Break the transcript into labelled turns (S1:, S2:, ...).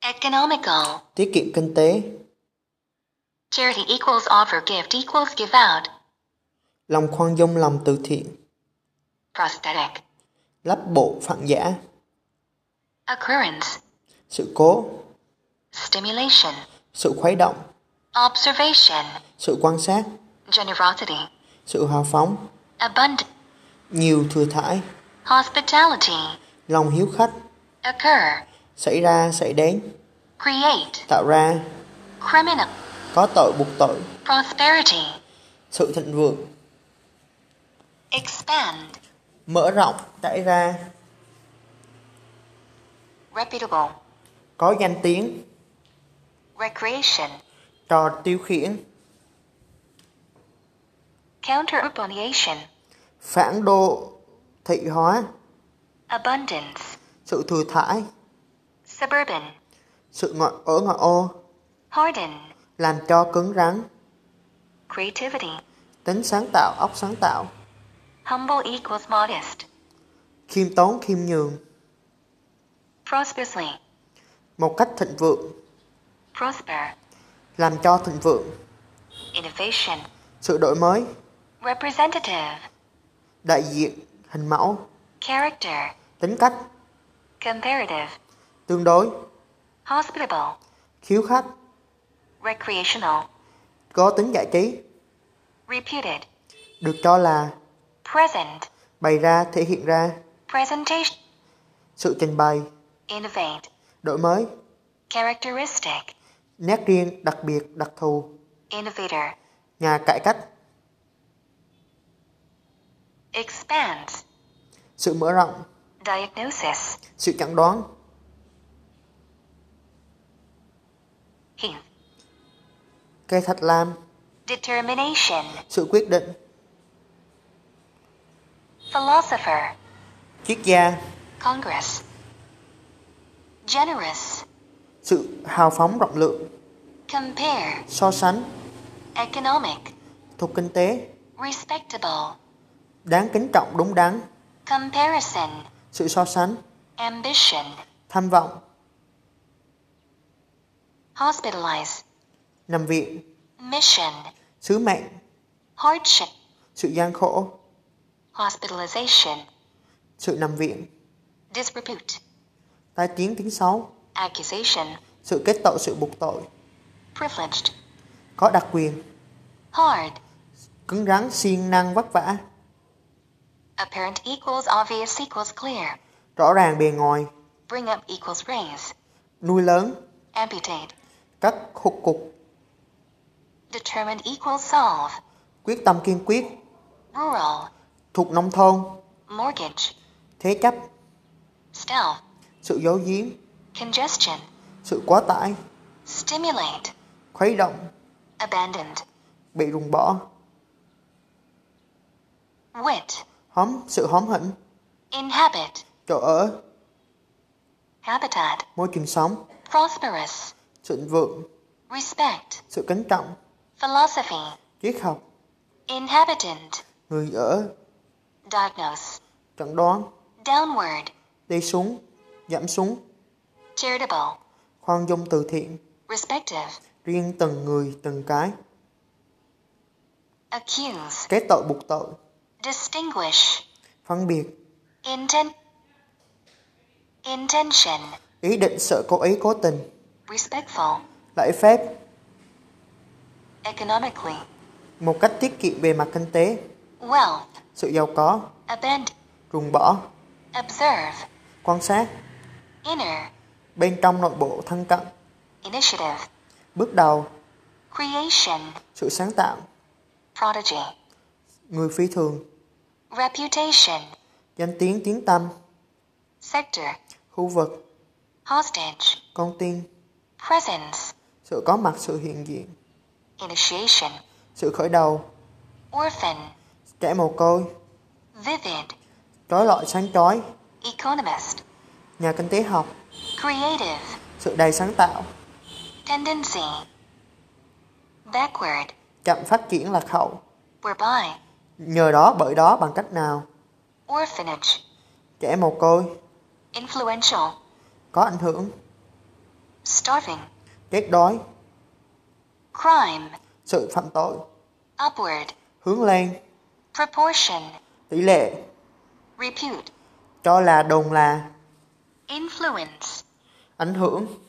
S1: Economical.
S2: tiết kiệm kinh tế,
S1: Charity equals offer gift equals give out.
S2: lòng khoan dung lòng từ thiện,
S1: Prosthetic.
S2: lắp bộ phản giả,
S1: Occurrence.
S2: sự cố,
S1: Stimulation.
S2: sự khuấy động,
S1: Observation.
S2: sự quan sát,
S1: Generosity.
S2: sự hào phóng,
S1: Abundant.
S2: nhiều thừa thải,
S1: Hospitality.
S2: lòng hiếu khách,
S1: Occur.
S2: xảy ra xảy đến,
S1: Create.
S2: tạo ra,
S1: Criminal.
S2: có tội buộc tội,
S1: Prosperity.
S2: sự thịnh vượng,
S1: Expand.
S2: mở rộng, trải ra,
S1: Reputable.
S2: có danh tiếng,
S1: Recreation.
S2: trò tiêu khiển,
S1: Counter-urbanisation.
S2: phản đô thị hóa,
S1: Abundance.
S2: sự thừa thải,
S1: Suburban.
S2: sự ngoại ở ngoại ô,
S1: Harden.
S2: làm cho cứng rắn,
S1: Creativity.
S2: tính sáng tạo, óc sáng tạo,
S1: Humble equals modest.
S2: khiêm tốn khiêm nhường,
S1: Prosperously.
S2: một cách thịnh vượng,
S1: Prosper.
S2: làm cho thịnh vượng,
S1: Innovation.
S2: sự đổi mới,
S1: Representative.
S2: đại diện, hình mẫu,
S1: Character.
S2: tính cách,
S1: Comparative.
S2: tương đối,
S1: Hospitable.
S2: khiếu khách,
S1: Recreational.
S2: có tính giải trí,
S1: Reputed.
S2: được cho là
S1: Present.
S2: bày ra, thể hiện ra,
S1: Presentation.
S2: sự trình bày,
S1: Innovate.
S2: đổi mới,
S1: Characteristic.
S2: nét riêng, đặc biệt, đặc thù,
S1: Innovator.
S2: nhà cải cách,
S1: Expands.
S2: sự mở rộng,
S1: Diagnosis.
S2: sự chẩn đoán,
S1: Hint.
S2: cây thạch lam,
S1: Determination.
S2: sự quyết định,
S1: Philosopher.
S2: triết gia,
S1: Congress. Generous.
S2: sự hào phóng rộng lượng,
S1: Compare.
S2: so sánh,
S1: Economic.
S2: thuộc kinh tế,
S1: Respectable.
S2: đáng kính trọng đúng đắn,
S1: Comparison.
S2: sự so sánh,
S1: Ambition.
S2: tham vọng,
S1: Hospitalize.
S2: nằm viện,
S1: Mission.
S2: sứ mệnh,
S1: Hardship.
S2: sự gian khổ,
S1: Hospitalization.
S2: sự nằm viện,
S1: Disrepute.
S2: tai tiếng tiếng xấu,
S1: Accusation.
S2: sự kết tội, sự buộc tội,
S1: Privileged.
S2: có đặc quyền,
S1: Hard.
S2: cứng rắn, siêng năng, vất vả,
S1: Apparent equals obvious equals clear.
S2: rõ ràng bề ngoài,
S1: Bring up equals raise.
S2: nuôi lớn,
S1: Amputate.
S2: cắt khục cục,
S1: Determined equals solve.
S2: quyết tâm kiên quyết,
S1: Rural.
S2: thuộc nông thôn,
S1: Mortgage.
S2: thế chấp,
S1: Stealth.
S2: sự giấu giếm,
S1: Congestion.
S2: sự quá tải,
S1: Stimulate.
S2: khuấy động,
S1: Abandoned.
S2: bị rùng bỏ,
S1: Wit.
S2: hóm, sự hóm hỉnh,
S1: Inhabit.
S2: chỗ ở,
S1: Habitat.
S2: môi trường sống,
S1: Prosperous.
S2: sự thịnh vượng,
S1: Respect.
S2: sự kính trọng,
S1: Philosophy.
S2: triết học,
S1: Inhabitant.
S2: người ở,
S1: Diagnose.
S2: chẩn đoán,
S1: Downward.
S2: đi xuống, giảm xuống,
S1: Charitable.
S2: khoan dung từ thiện,
S1: Respective.
S2: riêng từng người từng cái,
S1: Accuse.
S2: kết tội buộc tội,
S1: Distinguish.
S2: phân biệt,
S1: Intent. Intention.
S2: ý định sợ cố ý cố tình,
S1: Respectful.
S2: lãi phép,
S1: Economically.
S2: một cách tiết kiệm về mặt kinh tế,
S1: Wealth.
S2: sự giàu có,
S1: Abandon.
S2: ruồng bỏ,
S1: Observe.
S2: quan sát,
S1: Inner.
S2: bên trong nội bộ thân cận,
S1: Initiative.
S2: bước đầu,
S1: Creation.
S2: sự sáng tạo,
S1: Prodigy.
S2: người phi thường,
S1: Reputation.
S2: danh tiếng tiếng tâm,
S1: Sector.
S2: khu vực,
S1: Hostage.
S2: con tin,
S1: Presence.
S2: sự có mặt sự hiện diện,
S1: Initiation.
S2: sự khởi đầu,
S1: Orphan.
S2: trẻ mồ côi,
S1: Vivid.
S2: trói lọi sáng chói,
S1: Economist.
S2: nhà kinh tế học,
S1: Creative.
S2: sự đầy sáng tạo,
S1: Tendency. Backward.
S2: chậm phát triển lạc hậu,
S1: Whereby.
S2: nhờ đó bởi đó bằng cách nào,
S1: Orphanage.
S2: trẻ mồ côi,
S1: Influential.
S2: có ảnh hưởng,
S1: Star. starving,
S2: chết đói,
S1: crime,
S2: sự phạm tội,
S1: upward,
S2: hướng lên,
S1: proportion,
S2: tỷ lệ,
S1: repute,
S2: cho là đồn là,
S1: influence,
S2: ảnh hưởng,